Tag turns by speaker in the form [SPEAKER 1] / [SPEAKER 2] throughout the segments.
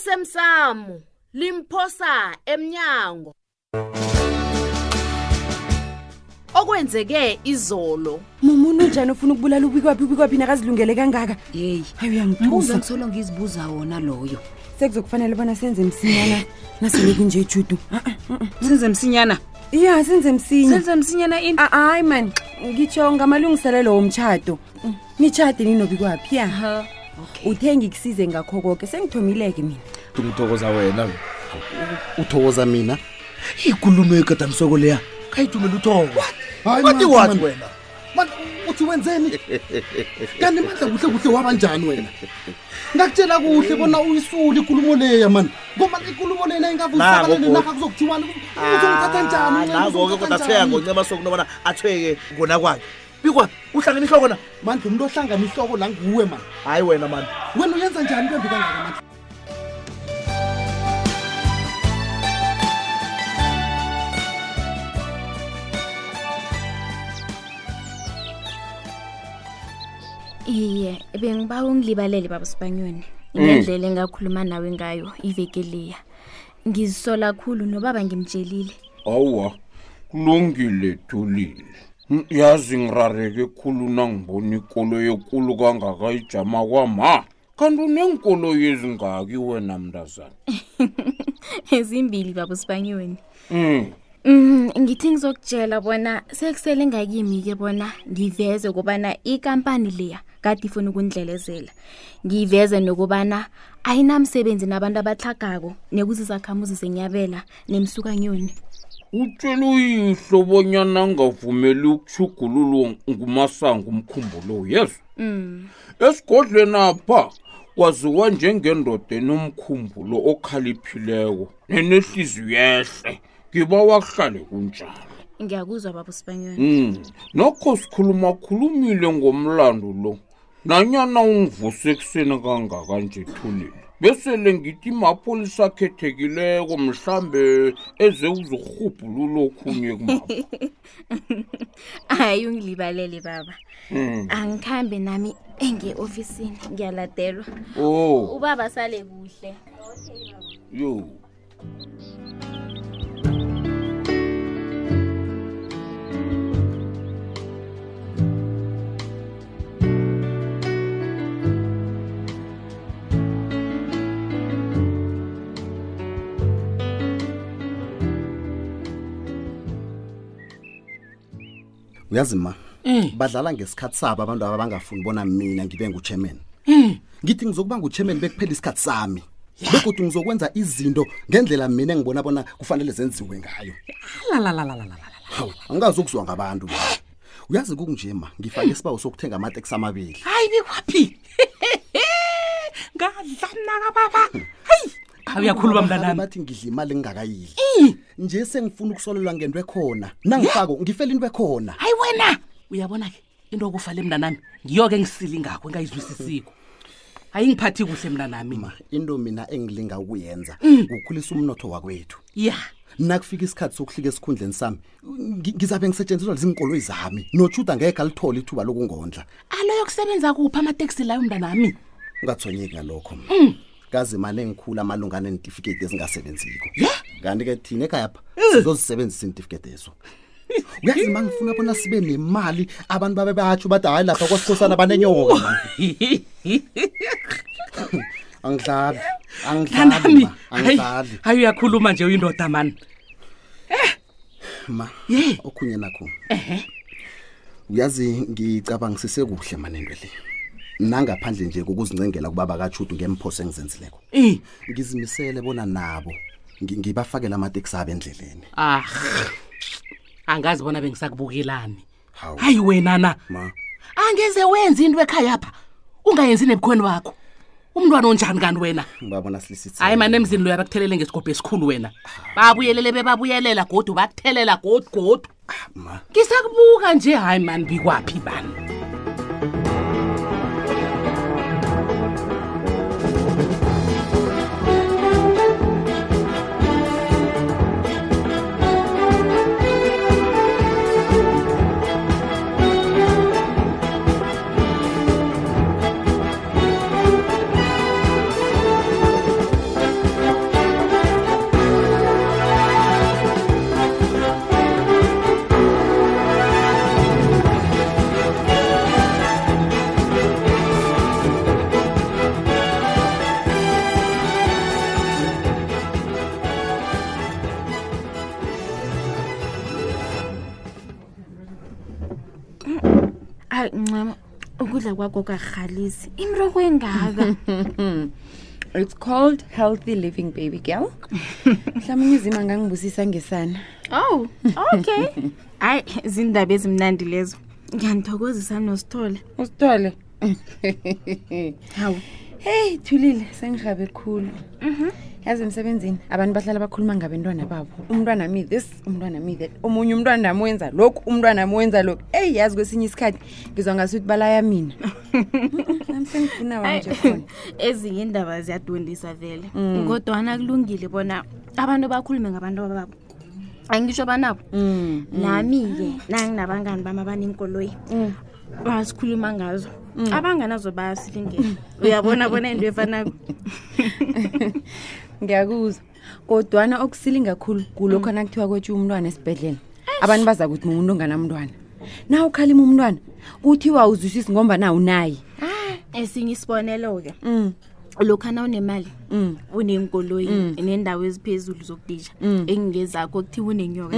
[SPEAKER 1] osemsamo limphosa emnyango okwenzeke izolo
[SPEAKER 2] mumuntu unjani ofuna ukubulala ubikwaphi ubikwaphi nakazilungele kangaka
[SPEAKER 3] yeyi
[SPEAKER 2] hayi
[SPEAKER 3] mbuzo
[SPEAKER 2] uyangithusa
[SPEAKER 3] ngisolo ngizibuza wona loyo
[SPEAKER 2] sekuzokufanele bona senze msinyana naseleki nje judu
[SPEAKER 3] senze msinyana
[SPEAKER 4] Hmm.
[SPEAKER 2] iya senze msinya
[SPEAKER 3] senze msinyana ini
[SPEAKER 2] Ah, hayi mani ngitsho ngamalungiselelo womtshato nitshade ninobikwaphi ya uthe ngikusize ngakho koke sengithomileke mina
[SPEAKER 5] ngithokoza wena uthokoza mina ikulumo egadanisoko leya khayidumela uthoko wathi wathi wena Man, uthi wenzeni kanti mandla kuhle kuhle wabanjani wena ngakutshela kuhle bona uyisule ikulumo leya mani ngomani ikulumo lena ingavuisabalele
[SPEAKER 6] Nango
[SPEAKER 5] nakha kuzokuthiwani uzomthatha njani uncema,
[SPEAKER 6] nango-ke Ah, kodwa
[SPEAKER 5] uzomthatha
[SPEAKER 6] athweka
[SPEAKER 5] njani?
[SPEAKER 6] ngoncema sokuno bona athweke ngona kwakhe bikwa uhlangene ihloko na
[SPEAKER 5] mandla umntu ohlangana ihloko la nguwe mani
[SPEAKER 6] hayi wena mani
[SPEAKER 5] wena uyenza njani kwembi kangaka mandla
[SPEAKER 7] iye bengiba ungilibalele baba sibanyoni ngendlela engakhuluma nawe ngayo iveke leya ngizisola khulu nobaba ngimtshelile
[SPEAKER 8] awa kulungile thulile Mm, yazi ngirareke khulu nangibona ikolo yekulu kangakayijama kwama kanti unenkoloyi ezingaki wena mntazana
[SPEAKER 7] ezimbili baba sibanyoni
[SPEAKER 8] um
[SPEAKER 7] Mm, ngithi ngizokutshela bona sekusele ngakimi-ke bona ngiveze ukubana ikampani leya kade ifuna ukundlelezela ngiveze nokubana ayinamsebenzi nabantu abatlagako nekuzizakhamuzi zenyabela nemsukanyoni
[SPEAKER 8] utshela uyihlo bonyana angavumeli ukushugululwa ngumasango umkhumbulo yezo
[SPEAKER 7] mm.
[SPEAKER 8] esigodlweni apha waziwa njengendoda enomkhumbulo okhaliphileko nenehliziyo yehle ngiba wakuhlale kunjalo
[SPEAKER 7] ngiyakuzwa baba sibanyoni
[SPEAKER 8] Mm, nokho sikhuluma khulumile ngomlando lo. Nanyana ungivuse ekuseni kangaka nje thulile. Bese le ngithi mapolisa akhethekileko mhlambe eze uzurhubhululo okhunye kumapho.
[SPEAKER 7] hayi ungilibalele baba
[SPEAKER 8] Mm.
[SPEAKER 7] angikhambe nami engeofisini ngiyaladelwa
[SPEAKER 8] Oh,
[SPEAKER 7] ubaba sale kuhle
[SPEAKER 8] yo.
[SPEAKER 5] uyazi ma
[SPEAKER 4] Eh.
[SPEAKER 5] badlala ngesikhathi sabo abantu aba bangafuni bona mina ngibe nguchairman
[SPEAKER 4] Eh.
[SPEAKER 5] ngithi ngizokuba nguchairman bekuphela isikhathi sami begodwa ngizokwenza izinto ngendlela mina engibona bona kufanele zenziwe ngayo hawu angikazi ukuzwa ngabantu uyazi kunje ma
[SPEAKER 4] Eh.
[SPEAKER 5] ngifake isibawo sokuthenga amateksi amabili
[SPEAKER 4] hayi bikwaphi ngadlanaka baba hayi hayi uyakhuluma mntanami Eh.
[SPEAKER 5] bathi ngidla imali engingakayili nje sengifuna ukusolelwa ngento ekhona nangifako ngifela into ekhona
[SPEAKER 4] hayi wena uyabona-ke into okufale mntanami ngiyo-ke ngisili ngakho engayizwisisiko hayi ngiphathi kuhle mntanami
[SPEAKER 5] ma into mina engilinga ukuyenza
[SPEAKER 4] Eh.
[SPEAKER 5] kukhulisa umnotho wakwethu
[SPEAKER 4] ya
[SPEAKER 5] nakufika isikhathi sokuhlika esikhundleni sami ngi- ngizabe ngisetshenziselwa lezinkoloyi zami notshuda ngeke alithole ithuba lokungondla
[SPEAKER 4] aloyo kusebenza kuphi amateksi Mm. layo mntanami
[SPEAKER 5] ungathonyeki ngalokho kazimane engikhulu amalunga nentifiketi ezingasebenziko kanti-ke thina ekhayapha
[SPEAKER 4] Eh.
[SPEAKER 5] sizozisebenzisa iintifiketi ezo uyazi ma ngifuna bona sibe nemali abantu babe batsho bathi hayi lapha kwasikhosana banenyoka man." angidlali angidlali
[SPEAKER 4] mntanami
[SPEAKER 5] ma,
[SPEAKER 4] hayi
[SPEAKER 5] angidlali
[SPEAKER 4] hayi uyakhuluma nje uyindoda mani
[SPEAKER 5] ma
[SPEAKER 4] Ye.
[SPEAKER 5] okhunye nakho uyazi ngicabangisise kuhle manento le nangaphandle nje kokuzincengela kubaba katshudu ngemphoso engizenzileko
[SPEAKER 4] Eh,
[SPEAKER 5] ngizimisele bona nabo ngi- ngibafakele amateksi abo endleleni
[SPEAKER 4] ah angazi bona bengisakubukelani
[SPEAKER 5] hawu
[SPEAKER 4] hayi wena na
[SPEAKER 5] ma
[SPEAKER 4] angeze wenza into ekhaya pha ungayenzi nebukhweni wakho umntwana onjani kanti wena
[SPEAKER 5] ngibabona silisithe
[SPEAKER 4] hayi mani emzini loyo bakuthelele ngesigobho esikhulu wena babuyelele bebabuyelela godu bakuthelela godu godu
[SPEAKER 5] ma
[SPEAKER 4] ngisakubuka nje hayi mani bikwaphi bani
[SPEAKER 7] hayi ncema ukudla kwakho karhalisi imroko engaka
[SPEAKER 2] it's called healthy living baby girl mhlawumbe umzima angangibusisa ngesana
[SPEAKER 7] ow Oh, okay hayi ziindaba ezimnandi lezo ngiyandithokozisa nosithole
[SPEAKER 2] usithole
[SPEAKER 7] hawu
[SPEAKER 2] heyi thulile sengihabe khulu yazi emsebenzini abantu bahlala bakhuluma ngabentwana babo umntwana mi this umntwana mi that omunye umntwana nami wenza lokhu umntwana nami wenza lokhu eyi yazi kwesinye isikhathi ngizwa ngasuthi balaya mina nami sengifuna wami nje khona
[SPEAKER 7] ezinye iindaba ziyadondisa Eh, vele kodwana kulungile bona abantu bakhulume ngabantu babo angisho banabo nami-ke nanginabangani bami abaneenkoloyi basikhuluma ngazo abanganazo bayasilingela uyabona bona into efanako
[SPEAKER 2] ngiyakuzwa kodwana okusilinga kakhulu kulokho nakuthiwa kwetshe umntwana esibhedlela abantu baza kuthi mumuntu onganamntwana na ukhalima umntwana kuthiwa uzwisisi ngomba na unaye
[SPEAKER 7] esinye isibonelo-ke
[SPEAKER 2] Mm.
[SPEAKER 7] lokhu na unemali unenkoloyi neendawo eziphezulu zokudisha engezakho kuthiwa unenyoka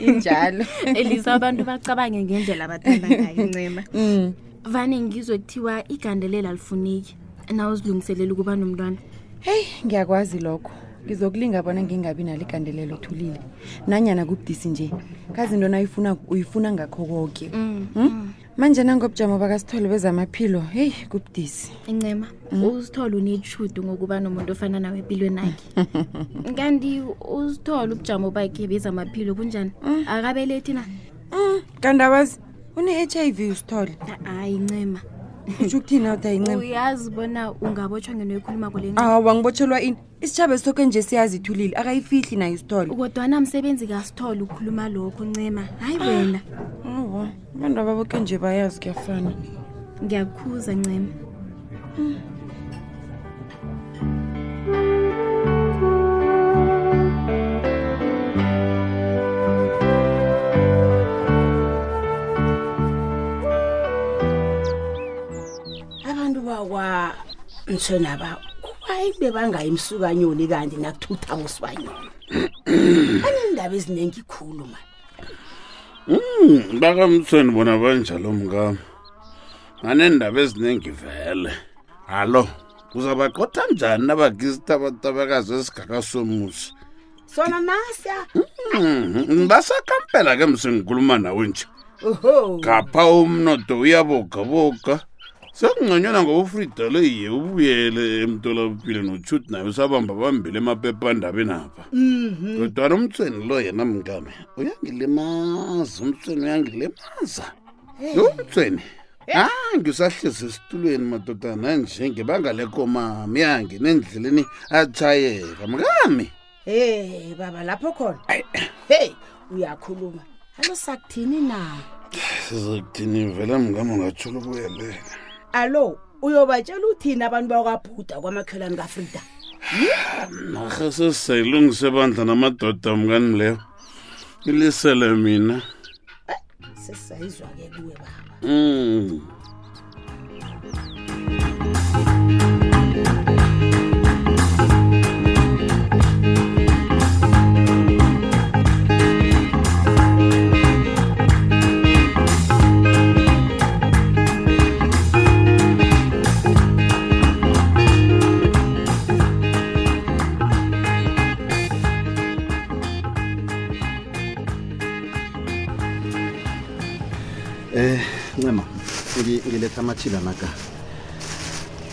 [SPEAKER 2] injalo
[SPEAKER 7] elisa abantu bacabange ngendlela abathanda ngayo ncema vane ngizwe kuthiwa igandelela lifuneki na uzilungiselela ukuba nomntwana
[SPEAKER 2] heyi ngiyakwazi lokho ngizokulinga bona ngingabi nalo igandelelo thulile nanyana kubudisi nje kazinto nayifuna uyifuna ngakho koke
[SPEAKER 7] Mm,
[SPEAKER 2] Hmm? manje nangobujamo bakasithole bezamaphilo heyi kubudisi
[SPEAKER 7] ncema uzithole unetshudu ngokuba nomuntu ofana nawe empilweni akhe kanti uzithole ubujamo bakhe bezamaphilo kunjani akabelethi na
[SPEAKER 2] Mm, kanti awazi une-h i v usithole
[SPEAKER 7] hayi ncema
[SPEAKER 2] utsho ukuthini awutayincema
[SPEAKER 7] uyazi bona ungabotshwa ngento ekhuluma kule ncema
[SPEAKER 2] awa ngibotshelwa ini isitshaba soke nje siyazithulile akayifihli nayo isithole
[SPEAKER 7] kodwana msebenzi kasithole ukukhuluma lokho ncema hayi wena
[SPEAKER 2] Awa, abantu ababoke nje bayazi kuyafana
[SPEAKER 7] ngiyakhuza ncema
[SPEAKER 4] abantu bakwa mthonaba kubayi bebangayimsukanyoni kanti nakuthutha ngosibanyoni baneendaba eziningi khulu ma
[SPEAKER 8] bakamthweni Hmm, bona banjalo mkami nganeendaba eziningi vele halo uzabaqotha njani nabagizita abatabakazi esigakasomusi
[SPEAKER 1] sona nasiya
[SPEAKER 8] basakampela Hmm, ke msengikhuluma nawe nje
[SPEAKER 1] oho
[SPEAKER 8] ngapha umnotho uyabogaboga sekungconywana ngobufridalo ye ubuyele emtolapile nochuti naye usabamba bambile emapepandabeni apha kodwana umtsweni lo yena mngame uyangilimaza umtsweni uyangilimaza yo umtsweni angi usahlezi esitulweni madoda nanjenge bangalekomami yangena endleleni atshayeka mngami
[SPEAKER 1] hey baba lapho khona hey uyakhuluma alo sakuthini na
[SPEAKER 8] sizakuthini vele mngami ungatshula ubuyelele
[SPEAKER 1] alo uyobatshela uthini abantu bakwabhuda kwamakhelwane kafrida
[SPEAKER 8] narhe sesizayilungisa ebandla namadoda mkani leyo ilisele mina
[SPEAKER 1] sesisayizwa ke kuwe baba
[SPEAKER 8] mm.
[SPEAKER 5] um ncema ngi- ngiletha amathila naka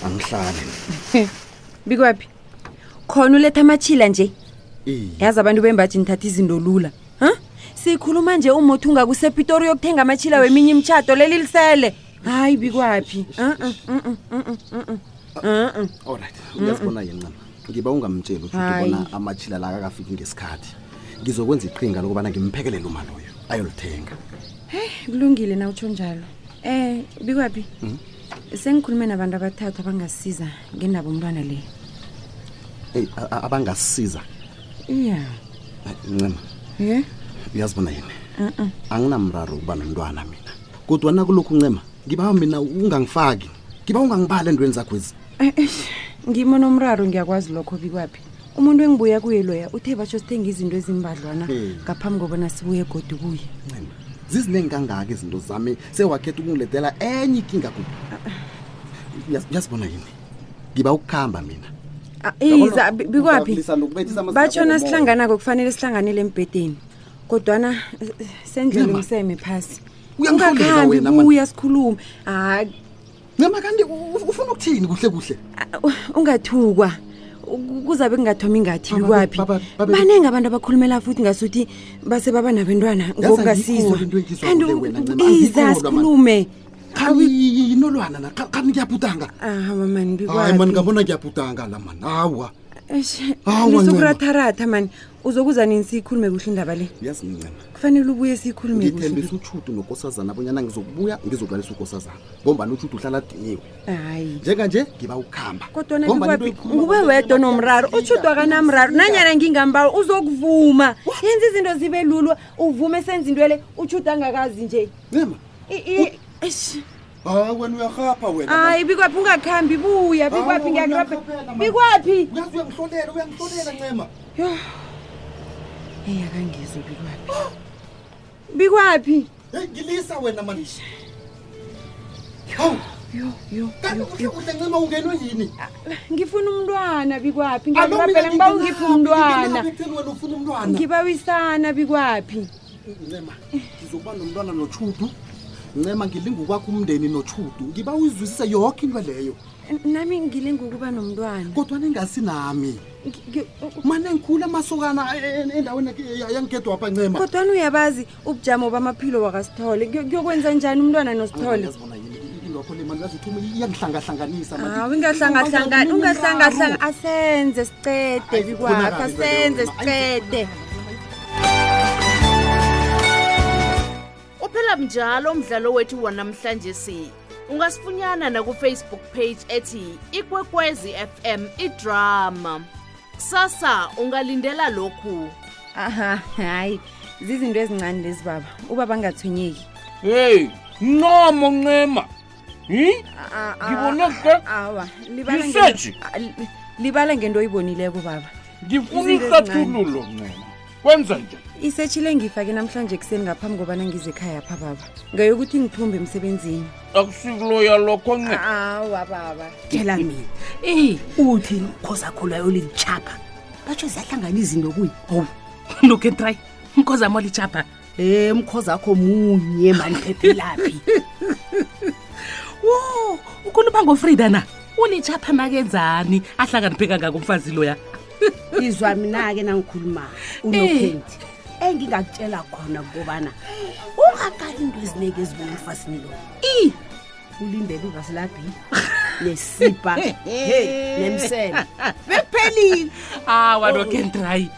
[SPEAKER 5] angihlali
[SPEAKER 2] bikwaphi khona uletha amatshila nje
[SPEAKER 5] Iye.
[SPEAKER 2] yazi abantu bembaji nithatha izinto lula ha sikhuluma nje umothi ungakusepitori uyokuthenga amatshila weminye imitshato leli lisele hayi bikwaphi Uh-uh, uh-uh, uh-uh, uh-uh, uh-uh.
[SPEAKER 5] allright uyazibona yena ncema ngiba ungamtsheli uthi
[SPEAKER 2] Hayi.
[SPEAKER 5] bona amatshila la kakafiki ngesikhathi ngizokwenza iqhinga lokubana ngimphekelele uma loyo ayolithenga
[SPEAKER 2] kulungile na utsho njalo um bikwaphi sengikhulume nabantu abathathu abangasiza ngendaba umntwana leyo
[SPEAKER 5] eyi a- a- abangasisiza
[SPEAKER 2] iya
[SPEAKER 5] Eh, ncema
[SPEAKER 2] ye
[SPEAKER 5] uyazibona yini anginamraro ukuba nomntwana mina kodwana kulokhu ncema ngiba mina ungangifaki ngiba ungangibali endweni zakhwezi
[SPEAKER 2] Eh, ngimo nomraro ngiyakwazi lokho bikwaphi umuntu engibuya kuye loya uthe batsho sithenga izinto ezimbadlwana
[SPEAKER 5] Hmm.
[SPEAKER 2] ngaphambi kobana sibuye godi kuye
[SPEAKER 5] ncema ziziningi kangaka izinto zami sewakhetha ukungilethela enye ikinga kubi Uyaz- uyazibona yini ngiba ukuhamba mina
[SPEAKER 2] Ah, iza bi- bikwaphi
[SPEAKER 5] Ngizakulisa nokubethisa amazinyo
[SPEAKER 2] batshona
[SPEAKER 5] akho ngomoya.
[SPEAKER 2] sihlanganako kufanele sihlanganele embhedeni kodwana eh, eh, sendlele umseme phasi
[SPEAKER 5] Uyangiholela
[SPEAKER 2] Ungakhambi,
[SPEAKER 5] wena, man.
[SPEAKER 2] buya sikhulume Ah, hayi
[SPEAKER 5] ncema kanti u- u- ufuna ukuthini kuhle kuhle
[SPEAKER 2] u- ungathukwa U- kuzabe kungathomi ngathi
[SPEAKER 5] Ah, Babe-
[SPEAKER 2] bikwaphi
[SPEAKER 5] babe- babe-
[SPEAKER 2] baningi abantu abakhulumela futhi ngasuthi base baba nabentwana ngokungasizwa
[SPEAKER 5] angiyikholwa into engizwa
[SPEAKER 2] kanti
[SPEAKER 5] kule
[SPEAKER 2] u-
[SPEAKER 5] wena,
[SPEAKER 2] u-
[SPEAKER 5] Ncema,
[SPEAKER 2] iza
[SPEAKER 5] angiyikholwa, man.
[SPEAKER 2] sikhulume
[SPEAKER 5] khaniyinolwana na Kha- khani ngiyabhudanga
[SPEAKER 2] ah mamani
[SPEAKER 5] hayi
[SPEAKER 2] bikwaphi
[SPEAKER 5] mani ngabona ngiyabhudanga la mani awa
[SPEAKER 2] Eish,
[SPEAKER 5] Awa, Ncema.
[SPEAKER 2] lisukuratharaatha mani uzokuza nini siyikhulume kuhle indaba le
[SPEAKER 5] uyazi ncema
[SPEAKER 2] kufanele ubuye siyikhulume kuhle
[SPEAKER 5] ngithembisa utshudu nokosazana abonyana ngizokubuya ngizoklalisa ukosazana ngombani utshudu uhlala adiniwe
[SPEAKER 2] hayi
[SPEAKER 5] njenganje ngiba ukuhamba
[SPEAKER 2] kodwana bikwaphi ngube wedwa nomraro utshudwa kanamraro nanyana ngingambawo uzokuvuma yenza izinto zibe lulwa uvume senza into le utshuda angakazi nje
[SPEAKER 5] ncema
[SPEAKER 2] I- i- eish,
[SPEAKER 5] hayi wena uyarhapha wena man.
[SPEAKER 2] hayi bikwaphi ungakhambi buya bikwaphi
[SPEAKER 5] Hawu,
[SPEAKER 2] ngiyakurabhe
[SPEAKER 5] uyangirhaphela, man.
[SPEAKER 2] bikwaphi
[SPEAKER 5] uyazi uyangihlolela uyangihlolela ncema
[SPEAKER 2] eyakangizwe bikwaphi bikwaphi
[SPEAKER 5] heyi ngilisa wena mani hawu kanti kuhle kuhle ncema ungenwe yini
[SPEAKER 2] ngifuna umntwana bikwaphi
[SPEAKER 5] Alo, mina
[SPEAKER 2] ngiyakurabhela ngiba ungiphi
[SPEAKER 5] ngingenabi,
[SPEAKER 2] umntwana
[SPEAKER 5] ngingenabi ekutheni wena ufuna umntwana
[SPEAKER 2] ngibawisana bikwaphi
[SPEAKER 5] ncema ngizokuba nomntwana notshudu ncema ngilinga ukwakho umndeni notshudu ngiba uyizwisise yoke into leyo
[SPEAKER 2] N- nami ngilinga ukuba nomntwana
[SPEAKER 5] kodwa ningasi nami
[SPEAKER 2] Ngi- ngi-
[SPEAKER 5] mane ngikhula amasokana e- e- endaweni yangigedwapha ncema
[SPEAKER 2] kodwana uyabazi ubujamo bamaphilo wakasithole Kuyo- kuyokwenza njani umntwana nosithole
[SPEAKER 5] yazibona yini i- indwakho le mani yazithuma iyangihlangahlanganisa man.
[SPEAKER 2] hawu
[SPEAKER 5] Ubangela
[SPEAKER 2] ingahlangahlangani
[SPEAKER 5] mina
[SPEAKER 2] ungahlangahlanga
[SPEAKER 5] umraro.
[SPEAKER 2] Ah, asenze sicede
[SPEAKER 5] Ayi,
[SPEAKER 2] bikwapha
[SPEAKER 5] kukhonakale into leyo,
[SPEAKER 2] asenze
[SPEAKER 5] Ncema. Ayi,
[SPEAKER 2] sicede
[SPEAKER 9] uphela mnjalo umdlalo wethu wanamhlanje si ungasifunyana nakufacebook page ethi ikwekwezi fm idrama kusasa ungalindela lokhu
[SPEAKER 2] aha hayi zizinto ezincane lezi baba uba bangathwenyeki
[SPEAKER 8] heyi ncamo ncema hi
[SPEAKER 2] Ah, ah,
[SPEAKER 8] ngibone ke
[SPEAKER 2] awa libala ngento-
[SPEAKER 8] Ngiseji.
[SPEAKER 2] Ah, li- libala ngento oyibonileko baba
[SPEAKER 8] ngifuna
[SPEAKER 2] Izinto ezincane.
[SPEAKER 8] ihlathululo ncema kwenza njani
[SPEAKER 2] isetshile ngifake namhlanje ekuseni ngaphambi kobana ngize ekhaya pha baba ngeyokuthi ngithumbe emsebenzini
[SPEAKER 8] akusikuloya lokho ncema
[SPEAKER 2] awa baba
[SPEAKER 3] tshela mina eyi uthini ukhozakhulayo lilitshapha batsho ziyahlangana izinto kuye
[SPEAKER 4] owu nokentry mkhoza ama litshapha
[SPEAKER 3] e mkhoza akho munye mani
[SPEAKER 4] phephelaphi wo ukhuluma ngofrida na ulitshapha makenzani ahlakaniphe kangaka umfazi loya
[SPEAKER 3] izwa mina-ke nangikhulumayo
[SPEAKER 4] Eh,
[SPEAKER 3] unokhendi engingakutshela khona kukobana ungaqali into eziningi ezibona efasini lo
[SPEAKER 4] i
[SPEAKER 3] ulindele ungasilabhini nesibha hey, nemsele bekuphelile
[SPEAKER 4] awa nokentry